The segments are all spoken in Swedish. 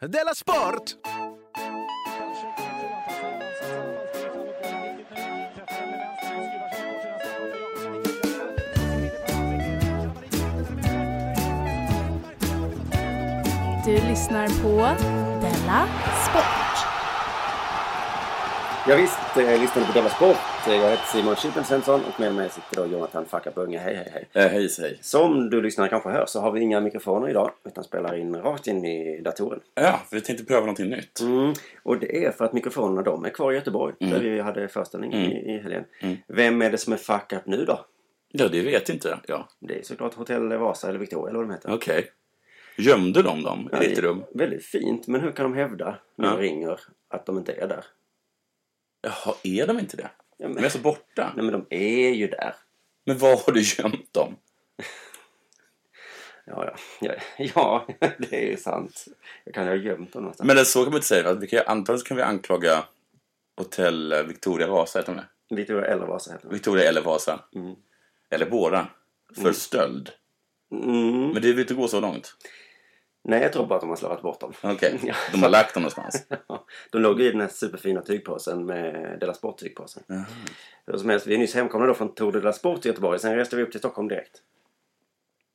Della Sport! Du lyssnar på Della Sport. Jag visst eh, lyssnade på Della Sport. Eh, Jag heter Simon Chippen Svensson och med mig sitter då Jonathan Facka Unge. Hej, hej, hej. Eh, hej, hej. Som du lyssnare kanske hör så har vi inga mikrofoner idag utan spelar in rakt in i datorn. Ja, vi tänkte pröva någonting nytt. Mm. Och det är för att mikrofonerna de är kvar i Göteborg där vi hade föreställning i, i helgen. Vem är det som är fuck up nu då? Ja, det vet inte jag. Ja. Det är såklart Hotell Vasa eller Victoria eller vad de heter. Okej. Gömde de dem i Ja, ditt det är rum? Väldigt fint, men hur kan de hävda när Ja. de ringer att de inte är där? Jaha, är de inte det? Ja, men- De är så borta. Nej, men de är ju där. Men var har du gömt dem? Ja, ja. ja, ja det är ju sant. Jag kan ju ha gömt dem någonstans. Men det- så kan man inte säga. va? Vi kan, ju- antagligen så kan vi anklaga Hotell Victoria Vasa, heter de det? Victoria eller Vasa heter de. Victoria eller Vasa. Mm. Eller båda. För stöld. Mm. Men det vill inte gå så långt. Nej, jag tror bara att de har slarvat bort dem. Okej, Ja. de har lagt dem någonstans. De låg ju i den här superfina tygpåsen med Della Sport-tygpåsen. Hur som helst, vi är nyss hemkomna då från Tour de la Sport i Göteborg. Sen reste vi upp till Stockholm direkt.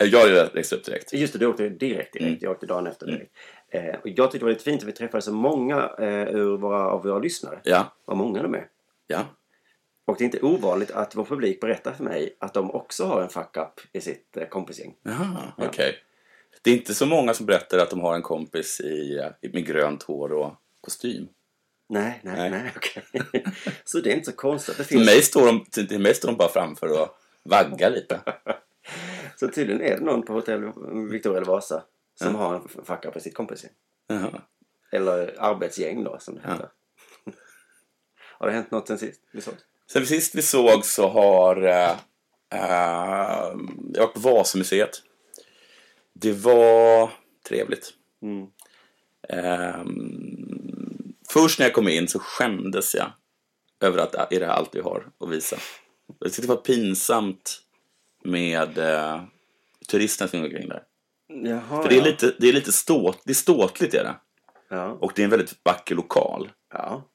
Eh, Jag har ju läst upp direkt. Just det, du åkte direkt direkt. Jag åkte dagen efter direkt. Eh, och jag tyckte det var lite fint att vi träffade så många eh, ur våra, av våra lyssnare. Ja, Vad många de är. ja. Och det är inte ovanligt att vår publik berättar för mig att de också har en fuck-up i sitt eh, kompisgäng. Jaha, okej. Det är inte så många som berättar att de har en kompis i, eh, med grönt hår och kostym. Nej, nej, nej, Nej. okej. så det är inte så konstigt. Det Till finns... mig, står de, till till mig står de bara framför och vaggar lite. Så tydligen är det någon på hotell Victoria eller Vasa som har en fuck-up i sitt kompisgäng. Jaha. Eller arbetsgäng då, som det heter. har det hänt något sen sist vi såg? Sen sist vi såg så har... eh, eh, jag var på Vasamuseet. Det var trevligt. Ehm, först när jag kom in så skämdes jag över att är det här allt vi har att visa. Jag tyckte det var pinsamt med eh, turisterna som går omkring där. Jaha, För det är ja. lite, det är lite ståt, det är ståtligt är det. Ja. Och det är en väldigt vacker lokal. ja.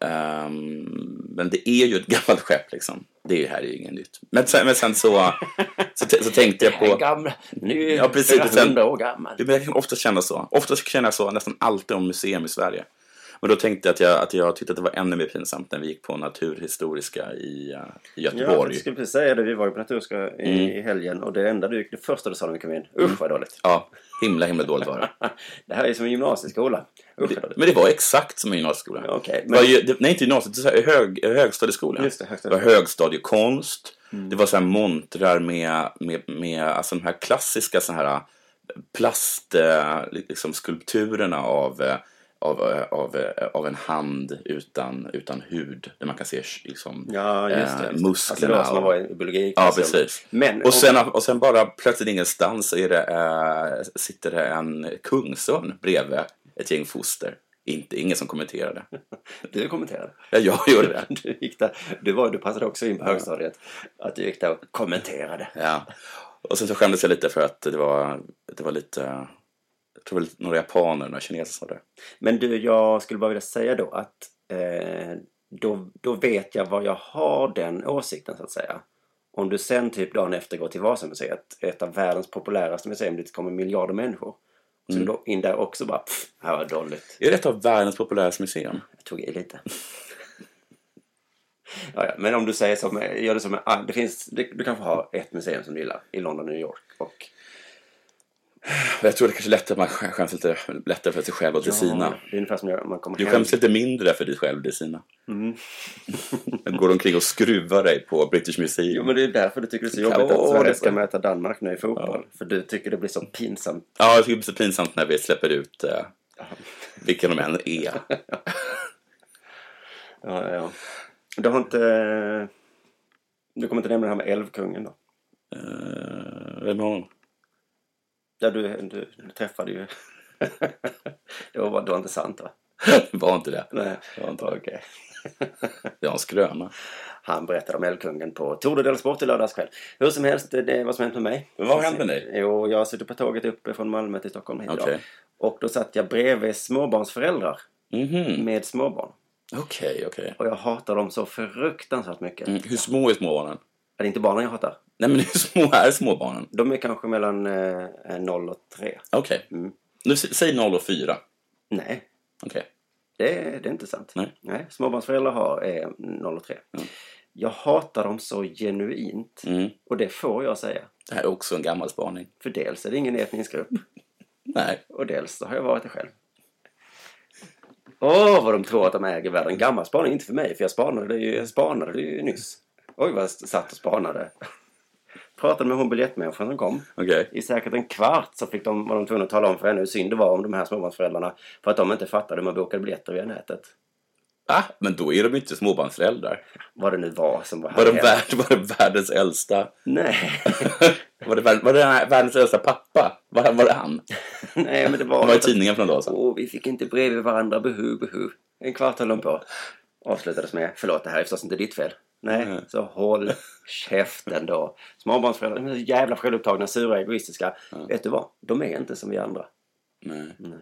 Ehm, men det är ju ett gammalt skepp liksom. Det här är ju inget nytt. Men sen, men sen så, så, t- så tänkte jag på... gamla, nu Ja, precis, flera och sen- hundra år gammal. Ja, men Jag kan ofta känna så. Ofta känner jag så nästan alltid om museum i Sverige. Men då tänkte jag att jag, att jag tyckte att det var ännu mer pinsamt när vi gick på Naturhistoriska i, eh, Ja, i Göteborg. Mm. jag skulle precis säga det. Vi var ju på Naturska i, i helgen och det enda du, det första du sa när vi kom in, usch vad dåligt. Ja, himla himla dåligt var det. Det här är som en gymnasieskola. Usch vad Det- dåligt. Men det var exakt som i gymnasieskolan. Ja, okej, Det var ju, det, nej, inte gymnasiet. Det var så här hög, högstadieskolan. Just det, Mm. det högstadiet. var högstadiekonst. Det var så här montrar med, med, med alltså de här klassiska så här plast, eh, liksom skulpturerna av, eh, av, eh, av, eh, av en hand utan, utan hud. Där man kan se liksom, Ja, just det. Just eh, det. Alltså det musklerna. var som man och- var i biologi. Ja, precis. Alltså, Men, och, sen, och sen bara plötsligt ingenstans är det, eh, sitter det en kungsörn bredvid ett gäng foster. Inte, ingen som kommenterade. Du kommenterade. Ja, jag gjorde det. Du, gick där, du, var, du passade också in på högstadiet. Att du gick där och kommenterade. Ja. Och sen så skämdes jag lite för att det var, det var lite... Jag tror det var lite- några japaner, några kineser som sa det. Men du, jag skulle bara vilja säga då att eh, då, då vet jag vad jag har den åsikten så att säga. Om du sen typ dagen efter går till Vasamuseet, ett av världens populäraste museum dit det kommer miljarder människor. Så Mm. du går in där också bara, pff, här var dåligt. Är det ett av världens populäraste museum? Jag tog i lite. ja, ja, men om du säger som, gör det som, en- ah, det finns, det, du kanske har ett museum som du gillar i London och New York. Och, Jag tror det kanske är lättare att man skä- skäms lite lättare för sig själv och till sina. Det är ungefär som när man kommer Du hem. skäms lite mindre för dig själv och till sina. Mm. Går omkring och skruvar dig på British Museum. Jo, men det är därför du tycker det är så kan jobbigt vara att Sverige det. ska möta Danmark nu i fotboll. För du tycker det blir så pinsamt. Ja, jag tycker det är så pinsamt när vi släpper ut eh, vilka de än är. Ja, ja. Du har inte... Du kommer inte nämna det här med Älvkungen då? Uh, vem är honom? Ja, du, du, du träffade ju... det, var, det var inte sant va? Det var inte det. Nej. Det var, inte det. Okej. det var en skröna. Han berättade om Älvkungen på Tour de Del Sport i lördags kväll. Hur som helst, det är vad som hänt med mig. Vad har hänt med dig? Jo, jag sitter på tåget uppe från Malmö till Stockholm hit idag. Okej. Och då satt jag bredvid småbarnsföräldrar med småbarn. Mhm. Okej, okej. Och jag hatar dem så fruktansvärt mycket. Mm, Hur små är småbarnen? Det är inte barnen jag hatar. Nej, men hur små är småbarnen? De är kanske mellan eh, 0 och 3. Okej. Mm. Nu s- Säg 0 och 4. Nej, Okej. det, det är inte sant. Nej. småbarnsföräldrar har, är 0 och 3. Jag hatar dem så genuint. Mm. Och det får jag säga. Det här är också en gammal spaning. För dels är det ingen etnisk grupp. Nej. Och dels så har jag varit det själv. Åh, vad de tror att de äger världen. Gammal spaning, inte för mig, för jag spanade ju, jag spanade det ju nyss. Oj, vad jag satt och spanade. Pratade med hon biljettmänniskan som kom. Okej. I säkert en kvart så fick de, var de tvungna att tala om för henne hur synd det var om de här småbarnsföräldrarna för att de inte fattade hur man bokade biljetter via nätet. Ah, men då är de ju inte småbarnsföräldrar. Vad det nu var som var här Var de, hemma. värld, var de världens äldsta? Nej. var det, värld, var det här världens äldsta pappa? Var, han- var det han? Nej, men det var... Han var i tidningen för några dagar sedan. Åh, vi fick inte bredvid varandra, behu, behu. En kvart höll de på. Avslutades med, förlåt det här är förstås inte ditt fel. Nej, så håll käften då. Småbarnsföräldrar, de är så jävla självupptagna, sura, egoistiska. Vet du vad? De är inte som vi andra. Nej. Nej.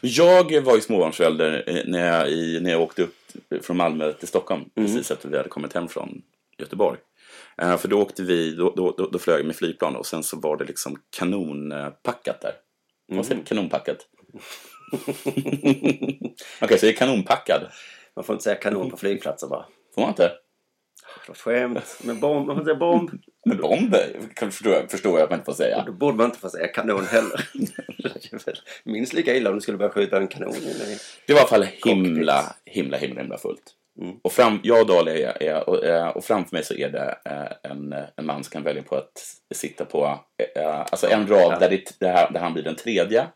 Jag var ju småbarnsförälder eh, när jag, i, när jag åkte upp från Malmö till Stockholm. Precis efter vi hade kommit hem från Göteborg. Eh, för då åkte vi, då, då, då, då flög jag med flygplan och sen så var det liksom kanonpackat där. Vad säger man? Kanonpackat? Okej, så jag är kanonpackad. Man får inte säga kanon på flygplatser bara. Får man inte? Förlåt, skämt. Men bomb, man får säga bomb. Men bomb kan- förstår jag, förstår jag att man inte får säga. Då borde man inte få säga kanon heller. Det är väl Minst lika illa om du skulle börja skjuta en kanon in i... Det var i alla fall himla, himla, himla, himla fullt. Mm. Och fram, jag och Dahlia är, är, och, eh, och framför mig så är det eh, en, en man som kan välja på att sitta på eh, eh, alltså en rad där, det, där, han- där han blir den tredje.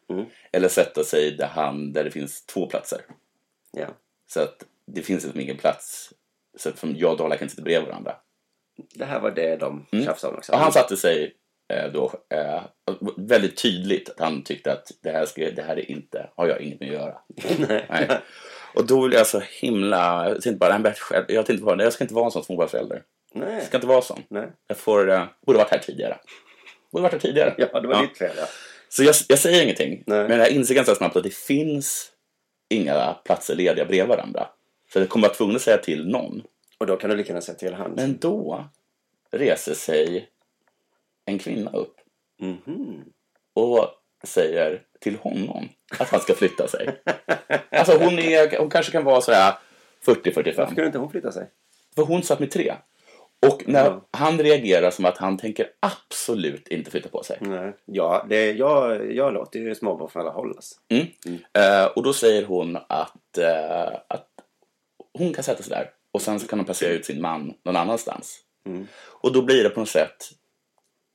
Eller sätta sig där, han, där det finns två platser. Ja. Så att det finns liksom ingen plats. Så att jag och Dahlia kan sitta bredvid varandra. Det här var det de tjafsade om också. Och han satte sig eh, då eh, väldigt tydligt att han tyckte att det här, ska, det här är inte, har jag inget med att göra. Nej. Och då blev jag så himla, jag tänkte bara, nej, men själv- jag, tänkte bara, jag ska inte vara en sån småbarnsförälder. Nej. Jag ska inte vara sån. Nej. Jag får, eh, borde varit här tidigare. Borde varit här tidigare. Ja, det var ditt fel ja. Så jag, jag säger ingenting. Nej. Men jag inser ganska snabbt att det finns inga platser lediga bredvid varandra. Så jag kommer vara tvungen att säga till någon. Och då kan du lika gärna säga till han. Men då reser sig en kvinna upp Mhm. och säger till honom att han ska flytta sig. Alltså hon, är, hon kanske kan vara sådär Varför 40-45. kunde inte hon flytta sig? För hon satt med tre. Och när Ja. han reagerar som att han tänker absolut inte flytta på sig. Nej. Ja, det, jag, jag låter ju småbarnsföräldrar hållas. Mm. Eh, och då säger hon att, eh, att hon kan sätta sig där och sen så kan hon placera ut sin man någon annanstans. Mm. Och då blir det på något sätt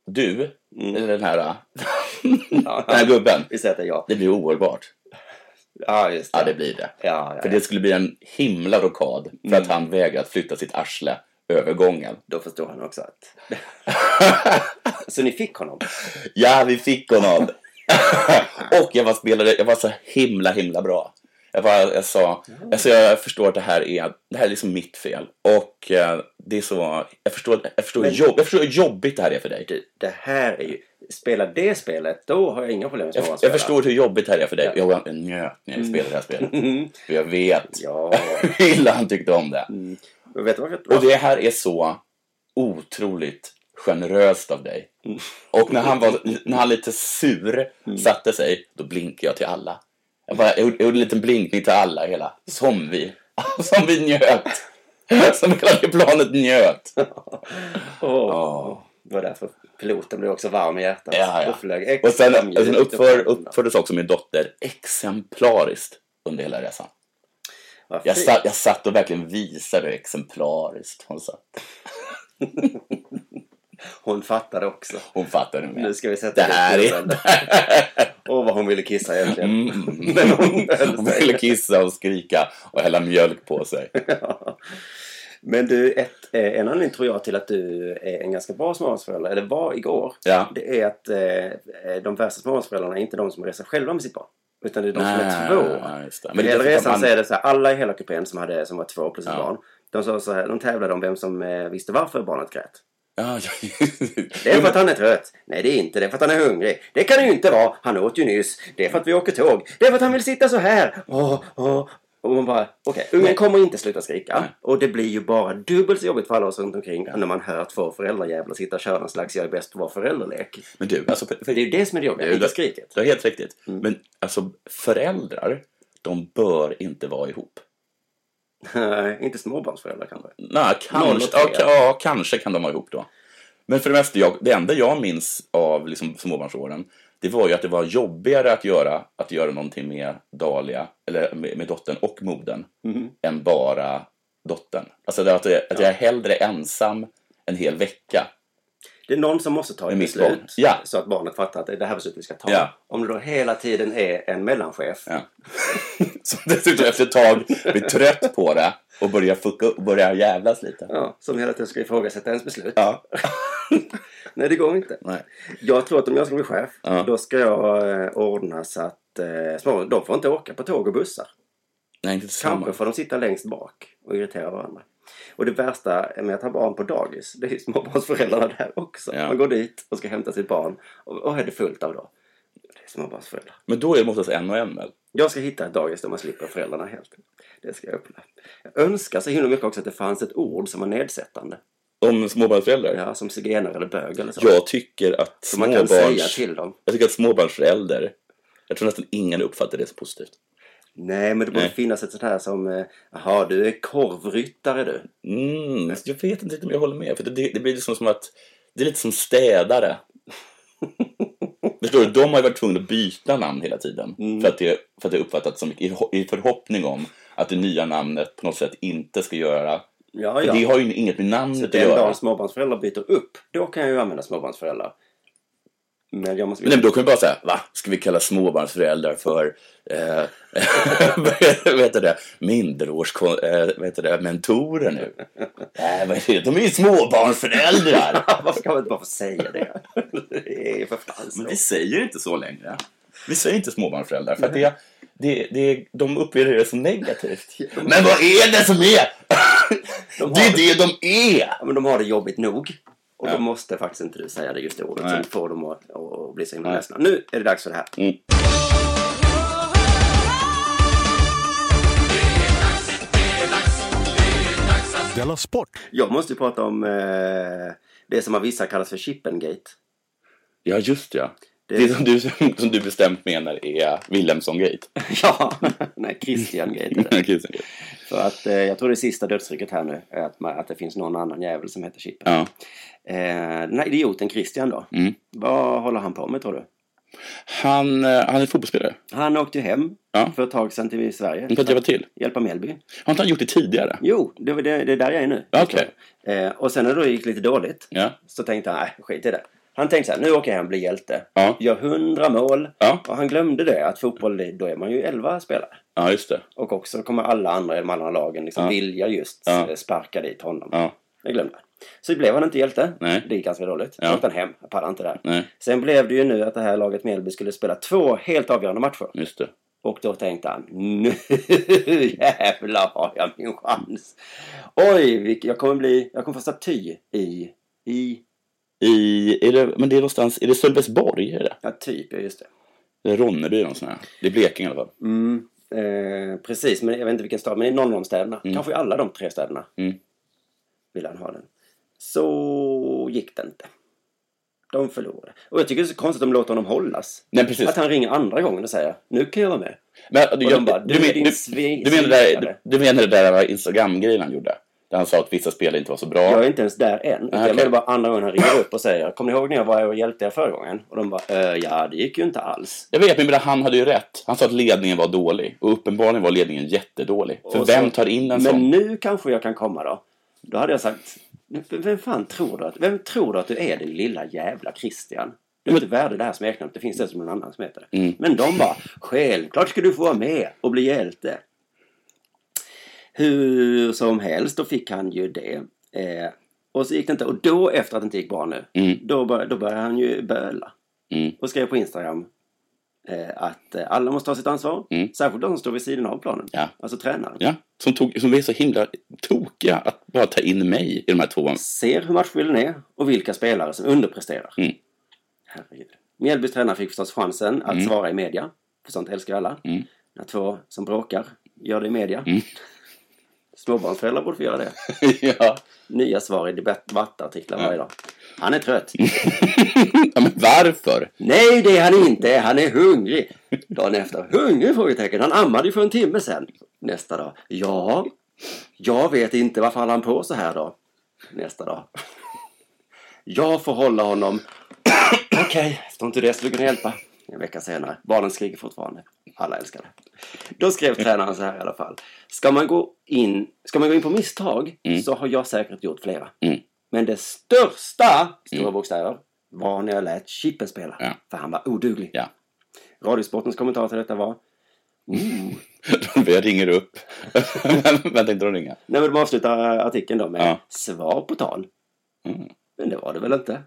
du, Mm. eller den här, den här gubben. Vi säger att det är jag. Det blir ohållbart. Ja, just det. Ja, det blir det. Ja, ja, För ja. det skulle bli en himla rockad för Mm. att han vägrat flytta sitt arsle över gången. Då förstår han också att... Så ni fick honom? Ja, vi fick honom! och jag var spelare, jag var så himla, himla bra. Jag, var, jag sa, alltså jag förstår att det här är, det här är liksom mitt fel. Och eh, det är så, jag förstår, jag förstår, Men- jobb, jag förstår hur jobbigt det här är för dig. Du, det här är ju... Spelar det spelet, då har jag inga problem med Jag, småbarnsföräldrar. jag förstår hur jobbigt det här är för dig. Jag var- njöt när jag spelade det här spelet. För jag vet Ja. hur illa han tyckte om det. Men vet du varför jag Och det här är så otroligt generöst av dig. Och när han var när han lite sur satte sig, då blinkade jag till alla. Jag, bara, jag, gjorde, jag gjorde en liten blinkning till alla hela. Som vi. Som vi njöt. Som hela planet njöt. Åh. Det var därför piloten blev också varm i hjärtat. Ja, Då ja. flög extra Och sen, mjukt och sen uppför, och- uppfördes också min dotter exemplariskt under hela resan. Vad Jag fint. satt, jag satt och verkligen visade hur exemplariskt hon satt. Hon fattade också. Hon fattade med. Nu ska vi sätta det här dit är... Mm, den. Åh, vad hon ville kissa egentligen. Men hon höll Hon sig. ville kissa och skrika och hälla mjölk på sig. Men du, ett, eh, en anledning tror jag till att du är en ganska bra småbarnsförälder, eller var igår, Ja. det är att eh, de värsta småbarnsföräldrarna är inte de som reser själva med sitt barn. Utan det är de som är Nej, två. ja, just det. Men Men det är Hela därför resan man- så är det så här, alla i hela kupén som, hade, som var två plus ett Ja. barn, de, sa så här, de tävlade om vem som eh, visste varför barnet grät. Ja, ja, Det är för att han är trött. Nej, det är inte. Det är för att han är hungrig. Det kan det ju inte vara. Han åt ju nyss. Det är för att vi åker tåg. Det är för att han vill sitta så här. Åh, åh. Och man bara, okej, ungen kommer inte sluta skrika. Nej. Och det blir ju bara dubbelt så jobbigt för alla oss runt omkring när man hör två föräldrajävlar sitta och köra någon slags jag är bäst på att vara föräldralek. Men du, alltså, för, Det är ju det som är Mm. det jobbiga, Jo, inte det- skriket. Du har helt riktigt. Men alltså, föräldrar, de bör inte vara ihop. Nej, inte småbarnsföräldrar kanske. Nej, Noll kanske, och tre. ja, ka- ja, kanske kan de vara ihop då. Men för det mesta, jag, det enda jag minns av liksom, småbarnsåren, det var ju att det var jobbigare att göra, att göra någonting med Dahlia, eller med, med dottern och modern, Mhm. än bara dottern. Alltså det, att, jag, att jag är hellre ensam en hel vecka. Det är någon som måste ta ett Med mitt beslut barn. Ja. så att barnet fattar att det är det här beslutet vi ska ta. Ja. Om det då hela tiden är en mellanchef. Ja. Som dessutom efter ett tag blir trött på det och börjar, fucka, och börjar jävlas lite. Ja, som hela tiden ska ifrågasätta ens beslut. Ja. Nej, det går inte. Nej. Jag tror att om jag ska bli chef, Ja. då ska jag eh, ordna så att eh, små, de får inte åka på tåg och bussar. Nej, inte Kanske tillsammans. får de sitta längst bak och irritera varandra. Och det värsta med att ha barn på dagis, det är ju småbarnsföräldrarna där också. Ja. Man går dit och ska hämta sitt barn och, och är det fullt av då. Det är småbarnsföräldrar. Men då är det oftast en och en väl? Jag ska hitta ett dagis där man slipper föräldrarna helt. Det ska jag öppna. Jag önskar så himla mycket också att det fanns ett ord som var nedsättande. Om småbarnsföräldrar? Ja, som zigenare eller bög eller så. Jag tycker att som man kan säga småbarns... till dem. Jag tycker att småbarnsförälder... Jag tror nästan ingen uppfattar det som positivt. Nej, men det borde Nej. finnas ett sånt här som... eh, Jaha, du är korvryttare du. Mm, alltså, jag vet inte riktigt om jag håller med. För det, det blir liksom som att... Det är lite som städare. Förstår du? De har ju varit tvungna att byta namn hela tiden. Mm. För, att det, för att det uppfattats som... I, I förhoppning om att det nya namnet på något sätt inte ska göra... Ja, För ja. det har ju inget med namnet att Den göra. dagen småbarnsföräldrar byter upp, då kan jag ju använda småbarnsföräldrar. Men jag måste... Men nej, men då kan vi bara säga, va? Ska vi kalla småbarnsföräldrar för, eh, vad heter det, minderårs, eh, vad heter det, mentorer nu? Nej, vad är det? De är ju småbarnsföräldrar! Varför kan man inte bara få säga det? det är ju för fan så. Men vi säger inte så längre. Vi säger inte småbarnsföräldrar, för att det, det, det, de upplever det som negativt. Men vad är det som är? De Det har, är det de är! Ja, men de har det jobbigt nog. Och Ja. då måste faktiskt inte du säga det just det ordet som Nej. får dem att, att bli så himla Nej. ledsna. Nu är det dags för det här. Mm. Della Sport! Jag måste ju prata om eh, det som av vissa kallas för Chippengate. Ja, just ja. Det- Det, det som, du, som du bestämt menar är Wilhelmsson-gate. Ja, nej, Christian-gate är det. För att eh, jag tror det är sista dödsrycket här nu är att, man, att det finns någon annan jävel som heter Chippen. ja. Eh, den här idioten Christian då. Mm. Vad håller han på med tror du? Han, eh, han är fotbollsspelare. Han åkte ju hem Ja. för ett tag sedan till Sverige. Men för att hjälpa till? Hjälpa Mjällby. Har inte han gjort det tidigare? Jo, det, var det, det är där jag är nu. Okej. Eh, och sen när det gick lite dåligt Ja. så tänkte han, nej skit i det. Han tänkte så här, nu åker jag hem och blir hjälte. Ja. Gör hundra mål. Ja. Och han glömde det, att fotboll, det- då är man ju elva spelare. Ja, just det. Och också kommer alla andra i de andra lagen liksom Ja. vilja just Ja. eh, sparka dit honom. Ja. Jag glömde. Så blev han inte hjälte. Nej. Det gick ganska dåligt. Ja. Så åkte han hem. Jag pallar inte där. Nej, Sen blev det ju nu att det här laget Mjällby skulle spela två helt avgörande matcher. just det. Och då tänkte han nu jävlar har jag min chans. Oj, vilk- jag kommer bli, jag kommer få staty i, i, I, är det, men det är någonstans, är det Sölvesborg? Är det? ja typ, ja, just det. Eller Ronneby eller någon sån här. Det är Blekinge i alla fall. Mm, eh, precis, men jag vet inte vilken stad, men i någon av de städerna. Kanske i alla de tre städerna. Mm. Vill han ha den. Så gick det inte. De förlorade. Och jag tycker det är så konstigt att de låter honom hållas. Nej, precis. Att han ringer andra gången och säger nu kan jag vara med. Men, de du, jag, bara, du, du är men, din du, sve- du, menar det, svikare. du, du menar det där Instagram-grejen han gjorde? Där han sa att vissa spelare inte var så bra. Jag är inte ens där än. utan Jag okej. menar bara andra gången han ringer upp och säger Kommer ni ihåg när jag var här och hjälpte er förra gången? Och de bara "Eh, ja det gick ju inte alls. Jag vet, men jag menar, han hade ju rätt. Han sa att ledningen var dålig. Och uppenbarligen var ledningen jättedålig. För Och vem så- tar in en Men sån? nu kanske jag kan komma då. Då hade jag sagt "V- Vem fan tror du att, vem tror du att du är din lilla jävla Christian? Du är inte värd det här smeknamnet. Det finns det som någon annan som heter det. Mm. Men de bara Självklart ska du få vara med och bli hjälte. Hur som helst, då fick han ju det. Eh, och så gick det inte. Och då efter att det inte gick bra nu, Mm. då, bör, då började han ju böla. Mm. och skrev på Instagram. eh, att eh, alla måste ta sitt ansvar. Mm. Särskilt de som står vid sidan av planen. Ja. Alltså tränaren. Ja, som, tog, som blev så himla tokiga att bara ta in mig i de här två. Ser hur matchbilden är och vilka spelare som underpresterar. Mm. Herregud. Mjällbys tränare fick förstås chansen att svara i media. För sånt älskar ju alla. Mm. När två som bråkar gör det i media. Mm. Småbarnsföräldrar borde få göra det. ja. Nya svar i debatt- debattartiklar varje dag. Han är trött. ja, men varför? Nej, det är han inte. Han är hungrig. Dagen efter. Hungrig? Frågetecken. Han ammade ju för en timme sedan. Nästa dag. Ja. Jag vet inte. Varför höll han på så här då? Nästa dag. Jag får hålla honom. Okej, efter inte det skulle kunna hjälpa. En vecka senare. Barnen skriker fortfarande. Alla älskar det. Då skrev tränaren så här i alla fall. Ska man gå in, ska man gå in på misstag så har jag säkert gjort flera. Mm. Men det största, stora bokstäver, var när jag lät Chippen spela. Ja. För han var oduglig. Ja. Radiosportens kommentar till detta var... Jag ringer upp. Vänta inte att ringa. Nej, men de avslutar eh, artikeln då med Ja. svar på tal. Mm. Men det var det väl inte?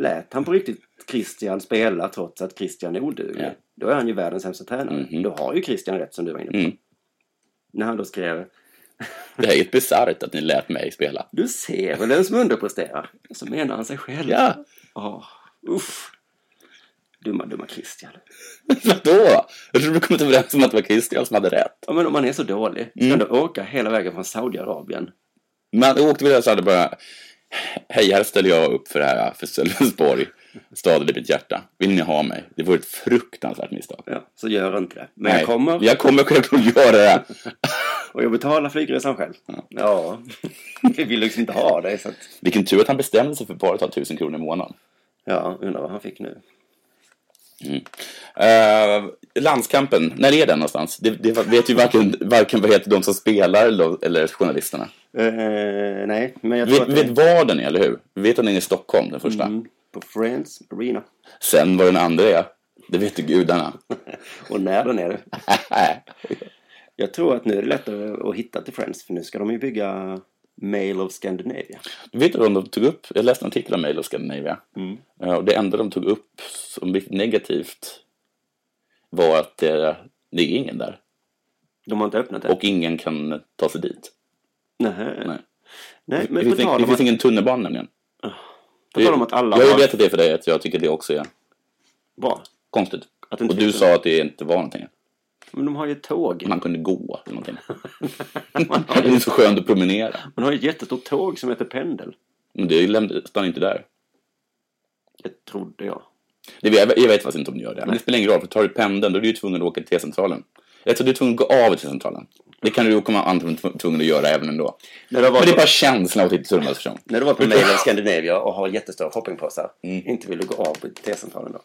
Lät han på riktigt Christian spela trots att Christian är oduglig? Ja. Då är han ju världens sämsta tränare. Mhm. Då har ju Christian rätt som du var inne på. Mm. När han då skrev Det här är ett bisarrt att ni lät mig spela. Du ser väl den som underpresterar? Så menar han sig själv. Ja. Åh, uff. Dumma, dumma Christian. Vadå? Jag trodde vi kommit överens om att det var Christian som hade rätt. Ja, men om man är så dålig, ska Mm. han då åka hela vägen från Saudiarabien? Men då åkte vi där så hade bara... Hej, här ställer jag upp för det här, för Sölvesborg. Staden i mitt hjärta. Vill ni ha mig? Det vore ett fruktansvärt misstag. Ja, så gör inte det. Men Nej, jag kommer Jag kommer självklart göra det. och jag betalar flygresan själv. Ja, vi vill liksom inte ha dig. Så att... Vilken tur att han bestämde sig för bara att ta 1000 kronor i månaden. Ja, undrar vad han fick nu. Eh, landskampen, när är den någonstans? Det, det vet ju varken, varken vad heter de som spelar eller, de- eller journalisterna. Eh, nej, men jag Vi tror att vet var den är, eller hur? Vi vet att den är i Stockholm, den första. Mm, på Friends Arena. Sen var den andra är, det vet ju gudarna. Och när den är det. Jag tror att nu är det lättare att hitta till Friends, för nu ska de ju bygga Mail of Scandinavia. Du vet att de tog upp, jag läste en artikel om Mail of Scandinavia. Mm. Eh, och det enda de tog upp som blev negativt var att eh, det är ingen där. De har inte öppnat det. Och ingen kan ta sig dit. Nähä. Nej. Nej. men det på finns, ing- tal det om finns att, ingen tunnelbana nämligen. på tal om att alla Jag har... vet att det är för dig, att jag tycker det också är Bra. konstigt. Att det Mm. inte Och du finns sa att det inte var någonting. Men de har ju tåg. Man kunde gå eller någonting. det är så skönt att promenera. Man har ju ett jättestort tåg som heter Pendel. Men det lämn- stannar inte där. Det trodde jag. Det, jag, jag vet faktiskt inte om du gör det. Men det spelar ingen roll, för tar du pendeln då är du ju tvungen att åka till T-centralen. Jag tror du är tvungen att gå av till centralen. Det kan du ju komma antagligen tv- tvungen att göra även ändå. När du var Men det är på- bara känslan av att inte tunnelbanan försvann. När du var på Mail of Scandinavia och har jättestora shoppingpåsar. Mm. Inte vill du gå av på T-centralen då?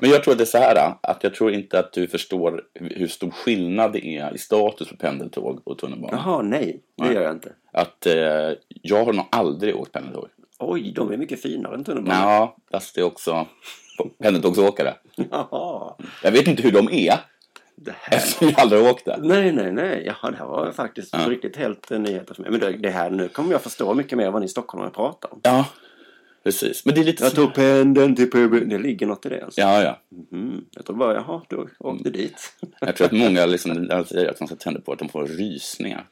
Men jag tror att det är så här, att jag tror inte att du förstår hur stor skillnad det är i status för pendeltåg och tunnelbana. Jaha, nej. Det Nej. gör jag inte. Att eh, jag har nog aldrig åkt pendeltåg. Oj, de är mycket finare än tunnelbanan. Ja, fast det är också pendeltågsåkare. Jaha. Jag vet inte hur de är, Det här... eftersom jag aldrig har åkt där. Nej, nej, nej. Jaha, det här var faktiskt på riktigt helt eh, nyheter för mig. Men det, det här, nu kommer jag förstå mycket mer vad ni stockholmare pratar om. Ja, precis. Men det är lite... Jag tog pendeln till puben. Det ligger något i det alltså. Ja, ja. Mm. Jag tror bara, jaha, du åkte dit. Jag tror att många liksom, när de säger att man ska tända på att de får rysningar.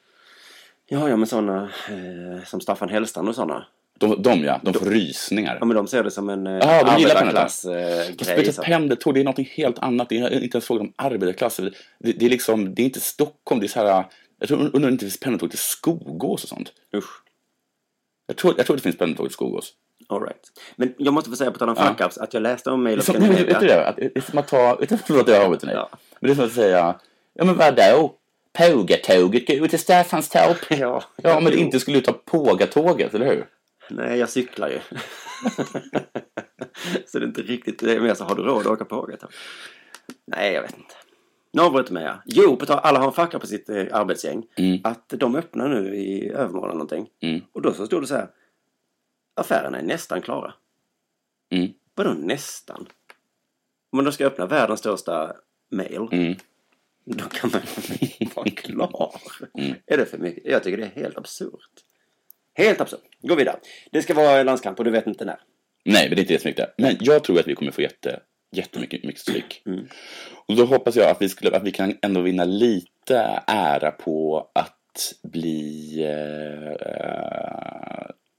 Ja, ja, men sådana eh, som Staffan Hellstrand och sådana. De, de ja, de får rysningar. Ja, men de ser det som en eh, Ja, de gillar arbetarklassgrej. Eh, Fast vet du, grej, så. pendeltåg, det är något helt annat. Det är inte ens fråga om arbetarklass. Det, det är liksom, det är inte Stockholm, det är så här... Jag tror, undrar om det inte finns pendeltåg till Skogås och sånt. Usch. Jag tror, jag tror det finns pendeltåg till Skogås. All right. Men jag måste få säga på tal om Ja. fuck-ups att jag läste om Mail of Som, nej, men vet du Scandinavia. det? Att, det är som att ta... Utan, förlåt, jag avbryter dig. Ja. Men det är som att säga... Ja, men vadå? Pågatåget går ut till Staffanstorp. Ja, Ja, men jo. inte skulle du ta pågatåget, eller hur? Nej, jag cyklar ju. så det är inte riktigt det. Men så har du råd att åka på åket? då? Nej, jag vet inte. Nu avbryter mig jag. Jo, på tal alla har en facka på sitt eh, arbetsgäng. Mm. Att de öppnar nu i övermorgon eller någonting. Mm. Och då så stod det så här. Affärerna är nästan klara. Mm. Vadå nästan? Om man då ska öppna världens största mail. Mm. Då kan man vara klar. Är det för mycket? Jag tycker det är helt absurt. Helt absurt. Gå vidare. Det ska vara landskamp och du vet inte när. Nej, men det är inte det som är viktigt. Men jag tror att vi kommer få jätte, jättemycket mycket stryk. Mm. Och då hoppas jag att vi, skulle, att vi kan ändå vinna lite ära på att bli eh,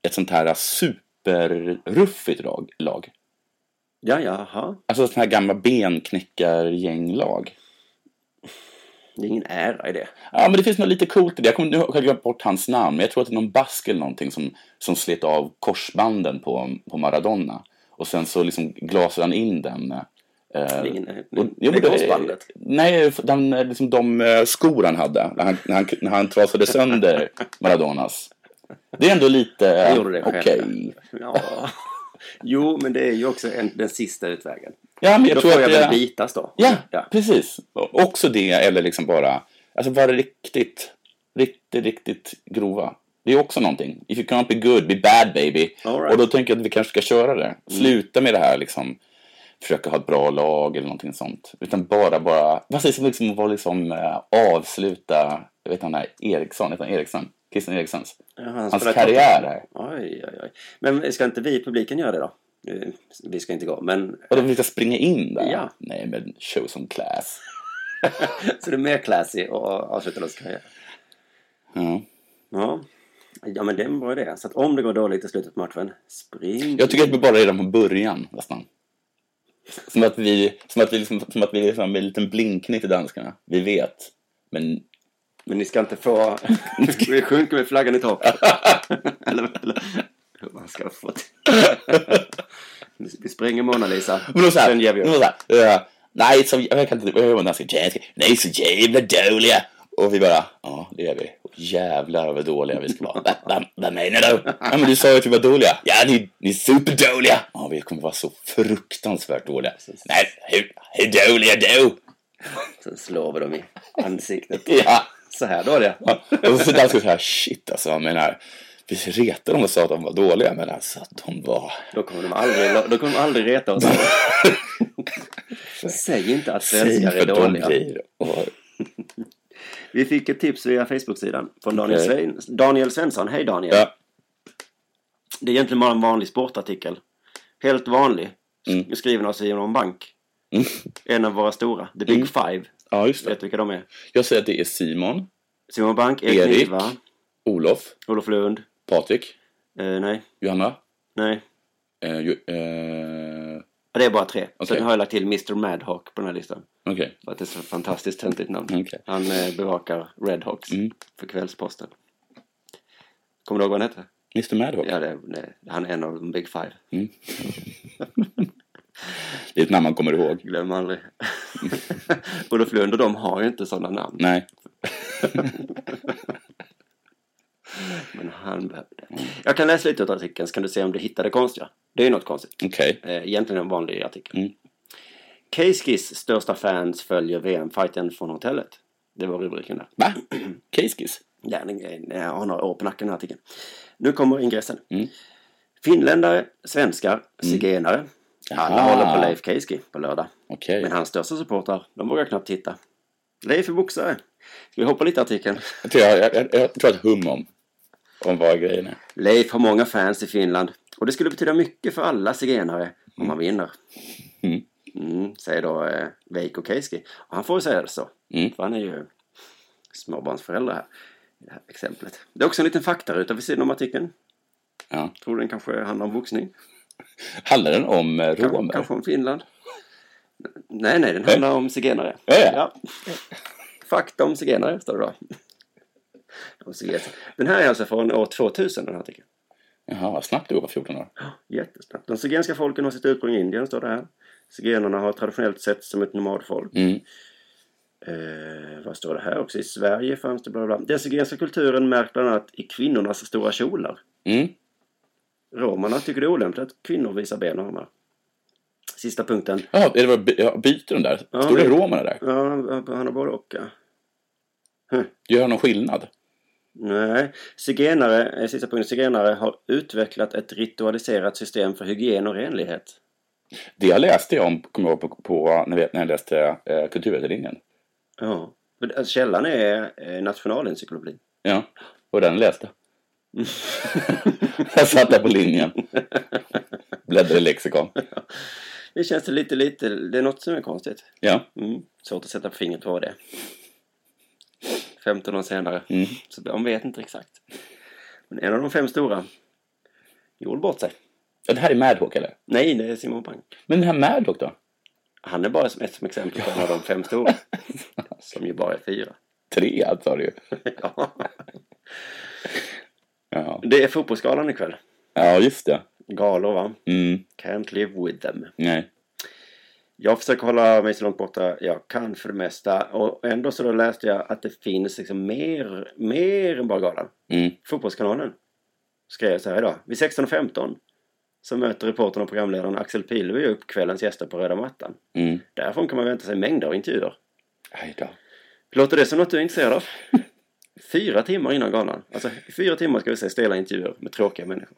ett sånt här superruffigt lag. lag. Ja, jaha. Alltså sådana här gamla benknäckargänglag. Det är ingen ära i det. Ja, men det finns något lite coolt i det. Jag kommer nu har jag glömt bort hans namn, men jag tror att det är någon bask eller någonting som, som slet av korsbanden på, på Maradona. Och sen så liksom glasade han in den. Det är Eh, ingen, och- det jo, är men korsbandet. Nej, den, eh, liksom de eh, skor han hade när han, när han, när han trasade sönder Maradonas. Det är ändå lite... Jag eh, gjorde det själv. Okej. Ja. Jo, men det är ju också en, den sista utvägen. Ja, men jag då tror får att jag det... väl bitas då. Ja, precis. Också det, eller liksom bara... Alltså vara riktigt, riktigt, riktigt grova. Det är också någonting. If you can't be good, be bad baby. All right. Mm. Och då tänker jag att vi kanske ska köra det. Sluta med det här liksom. Försöka ha ett bra lag eller någonting sånt. Utan bara, bara... Vad sägs om liksom att vara liksom eh, avsluta... Jag vet han här Eriksson, heter han Eriksson? Christian Erikssons. Ja, han Hans spelar karriär här. Tottenham. Oj, oj, oj. Men ska inte vi i publiken göra det då? Eh, Vi ska inte gå, men... Och de ska springa in där. Ja. Nej, men show some class. Så det är mer classy och avsluta deras karriär. Ja. Ja. ja, men det var det. Så att om det går dåligt i slutet på matchen, spring. Jag tycker att vi bara är där från början nästan. Som att vi, som att vi, liksom, som att vi liksom med en liten blinkning till danskarna. Vi vet. Men Men ni ska inte få... vi sjunker med flaggan i topp. eller, eller... Man ska få... vi springer Mona Lisa. men då så här, Sen ger vi då upp. så här, eh, nej, så, jag kan inte, jag hör danska, danska, nej så jävla dåliga. Och vi bara, ja det är vi. Och jävlar vad dåliga vi ska vara. Va, va, vad menar du? Ja men du sa ju att vi var dåliga. Ja ni, ni är superdåliga. Ja vi kommer vara så fruktansvärt dåliga. Nej, hur, hur dåliga då? Sen slår vi dem i ansiktet. Ja. Så här då det. Ja, Och så där skulle jag säga, shit alltså, jag menar, vi retade dem och sa att de var dåliga, men alltså att de var... Då kommer de aldrig, då kommer de aldrig reta oss. Säg inte att svenskar Säg är vad dåliga. blir. Och, Vi fick ett tips via Facebook-sidan från Daniel, Okej. Svein- Daniel Svensson. Hej Daniel! ja, Det är egentligen bara en vanlig sportartikel. Helt vanlig. Sk- Mm. Skriven av Simon Bank. En av våra stora. The Mm. Big Five. ja, just det. Vet du vilka de är? Jag säger att det är Simon, Simon Bank, Erik Erik. Niva, Olof, Olof Lund. Patrik, Eh, nej, Johanna. nej. Eh, ju, eh, Ja, Det är bara tre. Okej. Sen har jag lagt till Mr Madhawk på den här listan. Okej. För att det är så fantastiskt töntigt namn. Okej. Han eh, bevakar Redhawks Mm. för Kvällsposten. Kommer du ihåg vad han hette? Mr Madhawk. Ja, det, det, han är en av de Big Five. Det är ett namn man kommer ihåg. Glöm aldrig. Olof Lund och de har ju inte sådana namn. Nej. Men han behövde. Mm. Jag kan läsa lite ur artikeln så kan du se om du hittar det konstiga. Det är ju något konstigt. Okej. Eh, Egentligen en vanlig artikel. Mm. Keiskis största fans följer VM-fighten från hotellet. Det var rubriken där. Va? Keiskis? Ja, den grejen. Jag har några år på nacken den här artikeln. Nu kommer ingressen. Mm. Finländare, svenskar, zigenare. Alla Jaha. Eh. håller på Leif Keiski på lördag. Okej. Men hans största supportrar, de vågar knappt titta. Leif är boxare. Ska vi hoppa lite i artikeln? Jag, tror jag, jag, jag tror att hum om, om vad grejen är. Leif har många fans i Finland och det skulle betyda mycket för alla zigenare om han vinner. Mm. Mm, säger då eh, Veikko Keiski. Och han får ju säga det så. Mm. För han är ju småbarnsförälder här. I det här exemplet. Det är också en liten faktaruta vid sidan om artikeln. Ja. Tror den kanske handlar om boxning. Handlar den om eh, Kanske, romer? kanske om Finland. Nej, nej, den handlar om zigenare. Eh? Ja, ja. Fakta om zigenare, står det då. Om zigenare. Den här är alltså från år 2000, den här artikeln. Jaha, vad snabbt du var 14 år. Jättesnabbt. De zigenska folken har sitt ursprung i Indien, står det här. Zigenarna har traditionellt sett som ett nomadfolk. Mm. Eh, vad står det här också? I Sverige fanns det bla bla. bla. Den zigenska kulturen märks bland annat i kvinnornas stora kjolar. Mm. Romarna tycker det är olämpligt att kvinnor visar ben och armar. Sista punkten. Ja, det var by- ja, byter de där? Ja, Står det men- romerna där? Ja, han han har både och. ja. Gör någon skillnad? Nej. Zigenare, eh, sista punkten. Zigenare har utvecklat ett ritualiserat system för hygien och renlighet. Det jag läste jag om, kommer jag ihåg, på, på när, vi, när jag läste eh, kulturvetarlinjen. Ja. Men, alltså, Källan är eh, nationalencyklopedin. Ja, och den läste. jag satt där på linjen. Bläddrade i lexikon. Det känns lite, lite... Det är något som är konstigt. Ja. Mm. Svårt att sätta fingret på vad det är. 15 år senare. Mm. Så de vet inte exakt. Men en av de fem stora gjorde bort sig. ja. Det här är Madhawk eller? Nej, det är Simon Bank. Men den här Madhawk då? Han är bara som ett som exempel på en av de fem stora. Som ju bara är fyra. Tre antar du? Ja. Ja. Det är fotbollsgalan ikväll. ja, just det. Galor, va? Mm. Can't live with them. Nej. Jag försöker hålla mig så långt borta jag kan för det mesta. Och ändå så då läste jag att det finns liksom mer, mer än bara galan. Mm. Fotbollskanalen skrev så här idag. Vid 16.15 så möter reportern och programledaren Axel Pileby upp kvällens gäster på röda mattan. Mm. Därifrån kan man vänta sig mängder av intervjuer. Aj då. Låter det som något du är intresserad av? Fyra timmar innan galan. Alltså, i fyra timmar ska vi se stela intervjuer med tråkiga människor.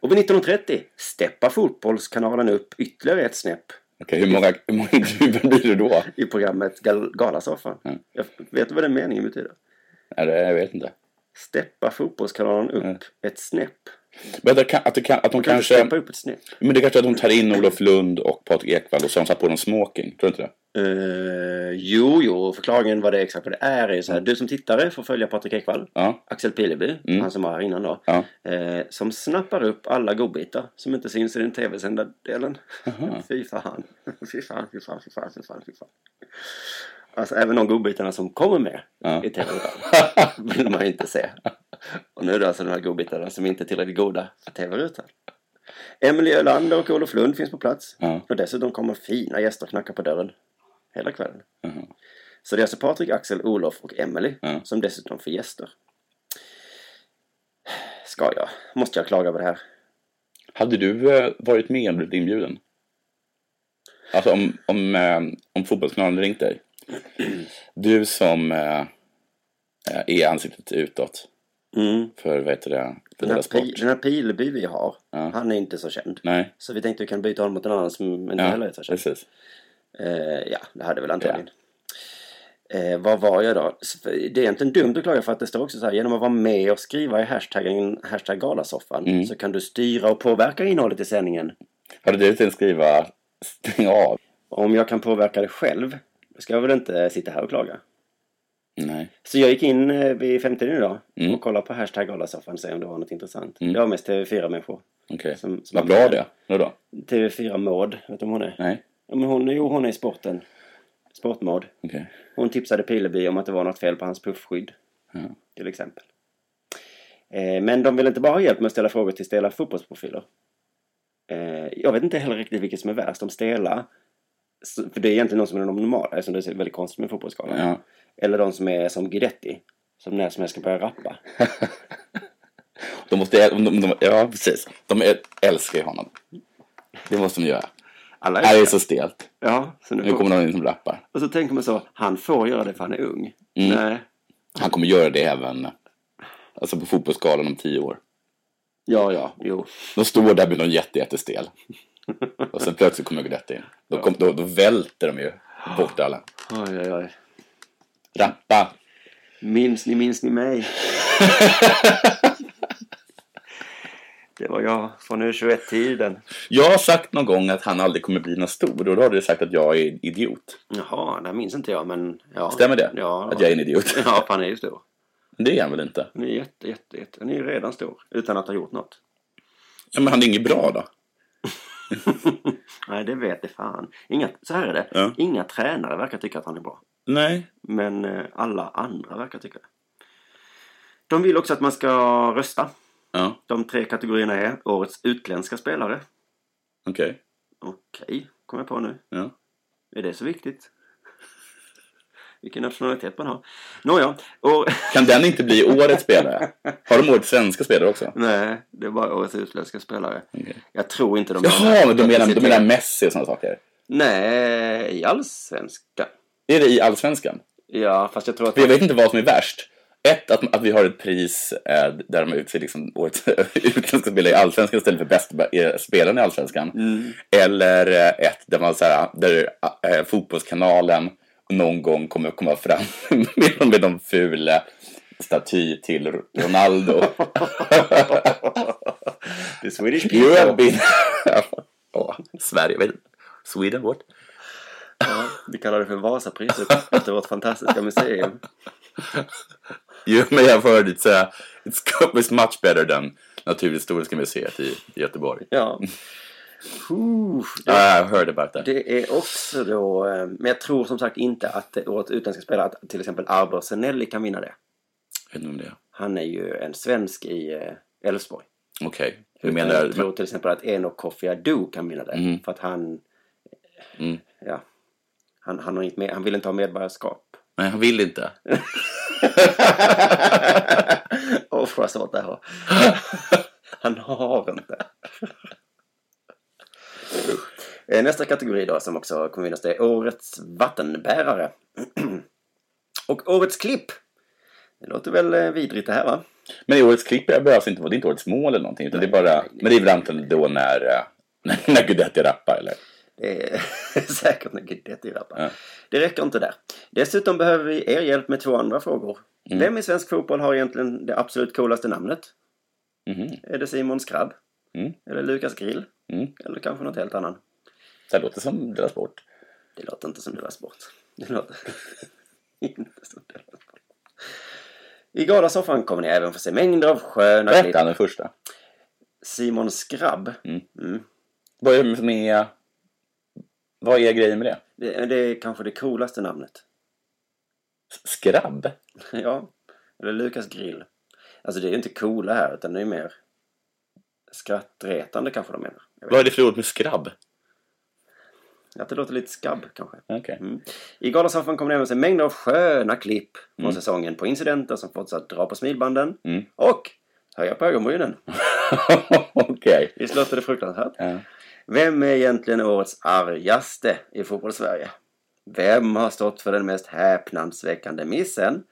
Och vid 19.30 steppar Fotbollskanalen upp ytterligare ett snäpp Okej, hur många, hur många intervjuer blir det då? i programmet Gal- Galasoffan. Mm. Jag vet du vad den meningen betyder? Eller, jag vet inte. Steppa Fotbollskanalen upp Mm. ett snäpp. Men att, det kan, att, det kan, att Kan de du kanske... steppa upp ett snäpp? Men det kanske är att de tar in Olof Lund och Patrik Ekwall och så har de satt på dem smoking. Tror du inte det? Eh, jo, jo, och förklaringen vad det är exakt vad det är är ju så här. Du som tittare får följa Patrik Ekwall, Ja. Axel Pileby, Mm. han som var här innan då. Ja. Eh, som snappar upp alla godbitar som inte syns i den tv-sända delen. fy fan. Fy fan, fy fan, fy fan, fy fan, fy fan. Alltså även de godbitarna som kommer med Ja. i tv vill man ju inte se. Och nu är det alltså de här godbitarna som inte är tillräckligt goda för tv-rutan. Emelie Ölander och Olof Lund finns på plats. Ja. Och dessutom kommer fina gäster knacka på dörren hela kvällen. Mhm. Så det är alltså Patrik, Axel, Olof och Emelie Ja. som dessutom får gäster. Ska jag? Måste jag klaga på det här? Hade du eh, varit med om du blivit inbjuden? Alltså om, om, eh, om fotbollskanalen ringt dig. Du som eh, eh, är ansiktet utåt Mm. för, vad heter det, för Den, här deras sport. pi- den här Pileby vi har, Ja. han är inte så känd. Nej, Så vi tänkte vi kan byta honom mot en annan som inte heller är ja, så känd. precis. Eh, ja, det hade väl antagligen. Eh, vad var jag då? S- för Det är egentligen dumt att klaga för att det står också så här. Genom att vara med och skriva i hashtaggen hashtag galasoffan Mm. så kan du styra och påverka innehållet i sändningen. Hade du tänkt skriva stäng av? Om jag kan påverka det själv då ska jag väl inte sitta här och klaga. Nej. Så jag gick in eh, vid femtiden idag Mm. och kollade på hashtag galasoffan och se om det var något intressant. Mm. Det var mest TV4-människor. Okej. Som- som- Vad bra det Nu då? TV4 Maud, vet du om hon är? Nej. Ja, men hon, jo, hon är i sporten. Sportmaud. Okej. Hon tipsade Pileby om att det var något fel på hans puffskydd. Ja. Till exempel. Eh, men de vill inte bara ha hjälp med att ställa frågor till stela fotbollsprofiler. Eh, jag vet inte heller riktigt vilket som är värst. De stela, s- för det är egentligen de som är de normala eftersom det är väldigt konstigt med fotbollsskalan. Ja. Eller de som är som Guidetti. Som när som helst ska börja rappa. De måste, de, de, de, ja, precis. De är- älskar ju honom. Det måste de göra. Alla Det här är är så stelt. Ja, så nu Nu kom, kommer någon in som rappar. och så tänker man så, han får göra det för han är ung. Mm. Nej. Han kommer göra det även alltså på fotbollsskalan om tio år. Ja, ja, jo. De står där med någon jätte, jättestel. Och sen plötsligt kommer Guidetti in. Då, kom, då, då välter de ju bort alla. Oj, oj, oj. Rappa! Minns ni, minns ni mig? Det var jag från U21-tiden. Jag har sagt någon gång att han aldrig kommer bli någon stor och då har du sagt att jag är en idiot. Jaha, det minns inte jag men... Ja. Stämmer det? Ja. Att jag är en idiot? Ja, han är ju stor. Men Det är han väl inte? Han är jätte, jätte, jätte. Han är ju redan stor. Utan att ha gjort något. Ja, men han är inget bra då? Nej, det vet det fan. Inga, så här är det. Ja. Inga tränare verkar tycka att han är bra. Nej. Men eh, alla andra verkar tycka det. De vill också att man ska rösta. Ja, De tre kategorierna är Årets utländska spelare. okej. Okej, kom jag på nu. Ja. Är det så viktigt? Vilken nationalitet man har. Nåja, och... Kan den inte bli årets spelare? Har de årets svenska spelare också? Nej, det är bara årets utländska spelare. Okej. Jag tror inte de Jaha, men de menar, de publicitet. menar Messi och sådana saker. Nej, i allsvenskan. Är det i Allsvenskan? Ja, fast jag tror att... För jag vet inte vad som är värst. Ett, att, att vi har ett pris eh, där de utser liksom årets utländska spelare i Allsvenskan istället för bästa eh, spelaren i Allsvenskan. Eller eh, ett där, man, så här, där eh, Fotbollskanalen någon gång kommer komma fram med, med någon ful eh, staty till Ronaldo. The Swedish You have been... Åh, Sverige, väl? Sweden, what? Ja, vi kallar det för Vasapriset efter vårt fantastiska museum. Jo, men jag hörde det säga It's always much better than Naturhistoriska museet i i Göteborg. Ja. Huh, Ja, det, jag hörde about that. det är också då... eh, Men jag tror som sagt inte att det- årets utländska spelare, att till exempel Arbor Senelli kan vinna det. Jag vet inte om det. Han är ju en svensk i eh, Elfsborg. Okej. Du Utan menar... jag tror till exempel att Enoch Kofi Adu kan vinna det. Mm. För att han... Mm. Ja. Han, han, har inte med, han vill inte ha medborgarskap. Nej, han vill inte. Åh, vad svårt det här var. Han har inte. Eh, Nästa kategori då som också kommer vinnas det är Årets vattenbärare. Och Årets klipp. Det låter väl eh, vidrigt det här va? Men i årets klipp behövs inte vara, det är inte årets mål eller någonting. Utan det är bara, men det är väl antagligen då när, eh, när, när Guidetti rappar eller? Det är säkert när Guidetti rappar. Ja. Det räcker inte där. Dessutom behöver vi er hjälp med två andra frågor. Mm. Vem i svensk fotboll har egentligen det absolut coolaste namnet? Mhm. Är det Simon Skrabb? Mm. Eller Lukas Grill? Mm. Eller kanske något helt annat? Det här låter som deras sport. Det låter inte som deras sport. Det låter inte som deras sport. I Galasoffan kommer ni även få se mängder av sköna Vad klipp. hette han den första? Simon Skrabb. Mm. Mm. Vad är, med, vad är grejen med det? Det, det är kanske det coolaste namnet. Skrabb? Ja, eller Lukas grill. Alltså det är ju inte coola här utan det är mer skrattretande kanske de menar. Jag vet. Vad är det för ord med skrabb? Att det låter lite skabb kanske. Okej. Mm. I Galasoffan kommer det även se mängder av sköna klipp från säsongen på incidenter som fått oss att dra på smilbanden Mm. och höja på ögonbrynen. Okej. Visst låter det fruktansvärt? Ja. Vem är egentligen årets argaste i fotbollssverige? Vem har stått för den mest häpnadsväckande missen?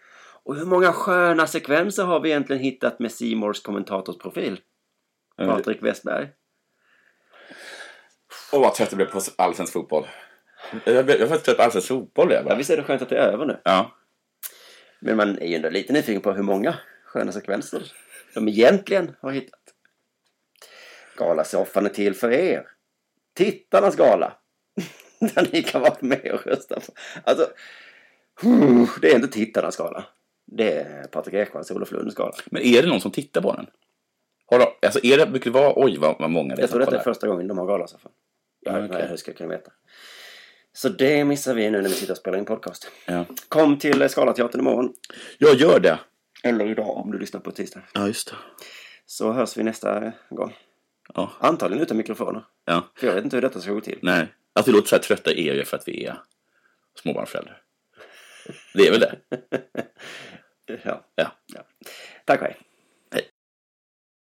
Och hur många sköna sekvenser har vi egentligen hittat med C Mores kommentatorsprofil? Mm. Patrik Westberg. Åh, vad trött jag blev på allsvensk fotboll. Jag blev jag var trött på allsvensk fotboll. Jag Ja, bara. visst är det skönt att det är över nu? Ja. Men man är ju ändå lite nyfiken på hur många sköna sekvenser de egentligen har hittat. Galasoffan är till för er. Tittarnas gala. Där ni kan vara med och rösta på. Alltså, huh, det är inte tittarnas gala. Det är Patrik Ekwalls och Olof Lunds gala. Men är det någon som tittar på den? Har de, alltså är det, brukar det vara, oj vad, vad många det är Jag tror som detta är kollar. första gången de har Galasoffan. Ja, Ja, okej. Hur ska jag kunna veta? Så det missar vi nu när vi sitter och spelar in podcast. Ja. Kom till Skalateatern imorgon. Jag gör det. Eller idag om du lyssnar på tisdag. Ja, just det. Så hörs vi nästa gång. Ja. Antagligen utan mikrofoner. Ja. För jag vet inte hur detta ska gå till. Nej. Att vi låter så här trötta är ju för att vi är småbarnsföräldrar. Det är väl det? Ja. Ja. Tack och hej.